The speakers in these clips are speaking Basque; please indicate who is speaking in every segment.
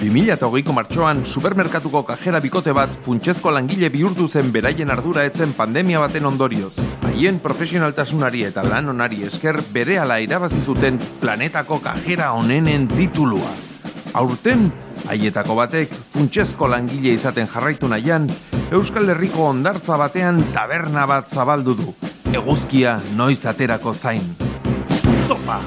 Speaker 1: 2008ko martxoan supermerkatuko kajera bikote bat funtsezko langile bihurtu zen beraien ardura etzen pandemia baten ondorioz. Haien profesionaltasunari eta lan onari esker berehala irabazi zuten planetako kajera onenen titulua. Aurten, haietako batek funtsezko langile izaten jarraitu nahian, Euskal Herriko ondartza batean taberna bat zabaldu du. Eguzkia noiz aterako zain. Topa!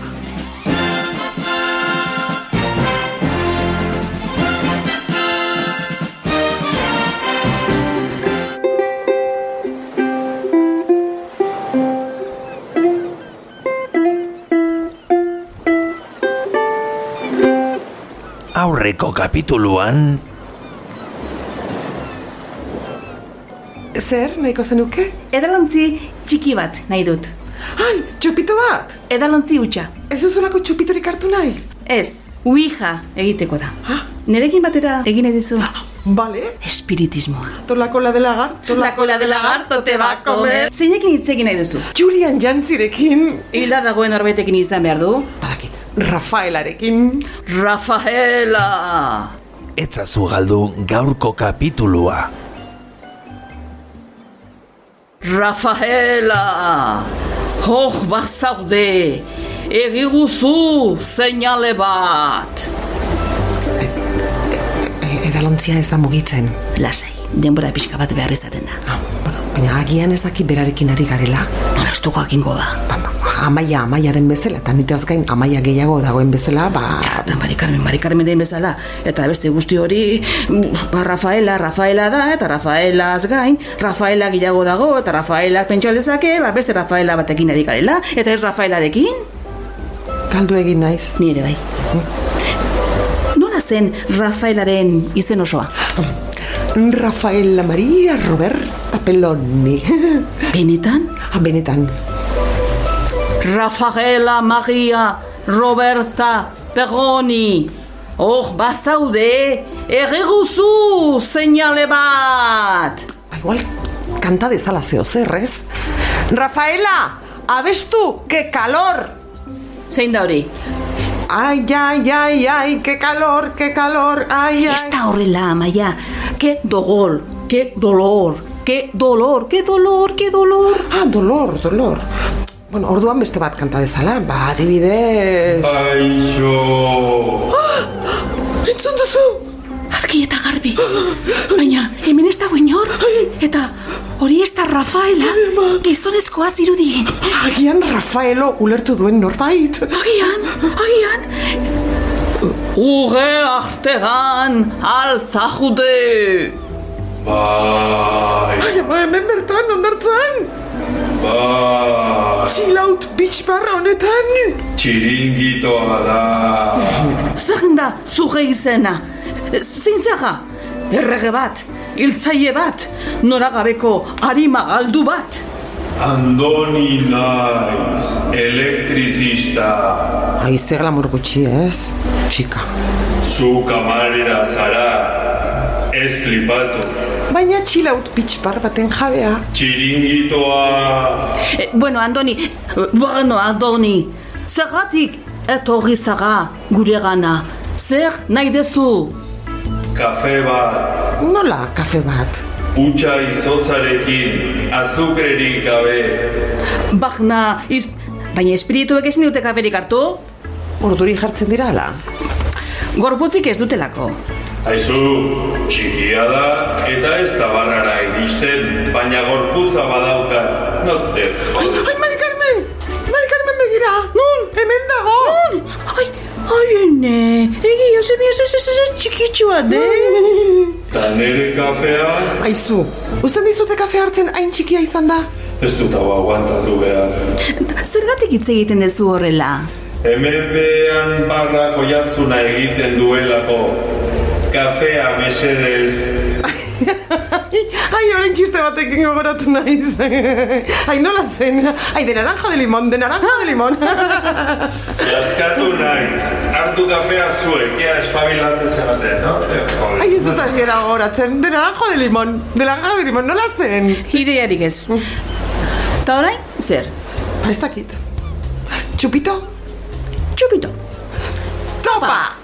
Speaker 2: aurreko kapituluan
Speaker 3: Zer, nahiko zenuke?
Speaker 4: Edalontzi txiki bat nahi dut.
Speaker 3: Ai, txupito bat!
Speaker 4: Edalontzi hutsa.
Speaker 3: Ez duzulako txupitorik hartu nahi?
Speaker 4: Ez, uija egiteko da.
Speaker 3: Ah.
Speaker 4: Nerekin batera egin edizu
Speaker 3: Bale,
Speaker 4: Ah, espiritismoa.
Speaker 3: tolako la de lagarto, la-
Speaker 4: cola de lagarto te va a comer. ba Zeinekin hitz egin nahi duzu.
Speaker 3: Julian Jantzirekin,
Speaker 4: Hilda dagoen horbetekin izan behar du.
Speaker 3: badakit, Rafaelarekin,
Speaker 4: Rafaela!
Speaker 2: etzazu galdu gaurko kapitulua.
Speaker 4: Rafaela! Hor bat zaude! Egiguzu seinale bat!
Speaker 3: e, edalontzia ez da mugitzen.
Speaker 4: Lasai, denbora pixka bat behar izaten da.
Speaker 3: Ah, bueno, baina agian ez daki berarekin ari garela.
Speaker 4: Molestuko egingo da.
Speaker 3: Ba, ba, amaia, amaia den bezala, eta nitaz gain amaia gehiago dagoen bezala, ba...
Speaker 4: Eta Mari Carmen, Mari Carmen den bezala. Eta beste guzti hori, mm, ba, Rafaela, Rafaela da, eta Rafaelaz gain, Rafaela gehiago dago, eta Rafaela pentsa lezake, ba, beste Rafaela batekin ari garela, eta ez Rafaelarekin,
Speaker 3: Galdu egin naiz.
Speaker 4: nire bai. Nola zen Rafaelaren izen osoa?
Speaker 3: Rafaela Maria Roberta Peloni.
Speaker 4: Benetan?
Speaker 3: Ah, Benetan,
Speaker 4: Rafaela Maria Roberta Perroni Hor bazaude, erreguzu seinale bat!
Speaker 3: Ba, igual, kanta dezala zeo zer, ez? Rafaela, abestu, que calor!
Speaker 4: Zein da hori?
Speaker 3: Ai, ai, ai, ai, que calor, que calor, ai, ai.
Speaker 4: Ez da horrela, amaia. Ke dogol, ke dolor, ke dolor, ke dolor, ke dolor.
Speaker 3: Ah, dolor, dolor. Bueno, orduan beste bat kanta dezala, ba, adibidez... Ah,
Speaker 5: Aixo!
Speaker 3: Entzun duzu!
Speaker 4: Argi eta garbi. Baina, hemen ez dago inor. Eta hori ez da Rafaela gizonezkoa zirudien.
Speaker 3: Agian Rafaelo ulertu duen norbait.
Speaker 4: Agian, agian. Urre artean alza jude.
Speaker 5: Bai,
Speaker 3: Ai, ba, hemen bertan, ondartzan!
Speaker 5: bai,
Speaker 3: Chill out beach e barra honetan!
Speaker 5: txiringitoa da.
Speaker 4: Zer da zure izena? Zein zara? Errege bat, hiltzaile bat, noragabeko harima galdu bat.
Speaker 5: Andoni naiz, elektrizista,
Speaker 3: Aizte glamor gutxi, ez? Txika.
Speaker 5: zu kamarera zara, ez flipatu.
Speaker 3: Baina chill out beach bar baten jabea.
Speaker 5: Txiringitoa,
Speaker 4: E, bueno, Andoni, e, bueno, Andoni, zergatik etorri zara gure gana. Zer nahi dezu?
Speaker 5: kafe bat,
Speaker 3: Nola, kafe bat.
Speaker 5: utxa izotzarekin, azukrerik gabe.
Speaker 4: Bagna, iz... baina espirituek ezin dute kaferik hartu?
Speaker 3: Urduri jartzen dira ala.
Speaker 4: Gorputzik ez dutelako.
Speaker 5: Aizu, txikia da eta ez tabarrara iristen, baina gorputza badaukat, no te jodas.
Speaker 3: Ai, Mari Carmen! Mari Carmen begira! Nun? Hemen dago! Nun?
Speaker 4: Ai, ai, ene, egi, oze mi, ez, ez, ez, eh? txikitsua, de?
Speaker 5: Ta nere kafea
Speaker 3: Aizu, usten dizute kafe hartzen hain txikia izan da?
Speaker 5: ez dut hau aguantatu behar.
Speaker 4: Zergatik hitz egiten duzu horrela?
Speaker 5: Hemen behan barrako jartzuna egiten duelako. Kafea mesedez,
Speaker 3: Ai, ai, orain txiste batekin gogoratu naiz. ai, nola zen? Ai, de naranjo de limon, de naranjo de limon.
Speaker 5: jaskatu naiz. Hartu kafea zuek, ea espabilatzen zeraten, no? Te jodas.
Speaker 3: ai, ez dut asiera gogoratzen. De naranjo de limon, de naranjo de limon, nola zen?
Speaker 4: Idearik ez. Eta orain, zer?
Speaker 3: Ba, ez dakit. Txupito?
Speaker 4: Txupito.
Speaker 3: Topa!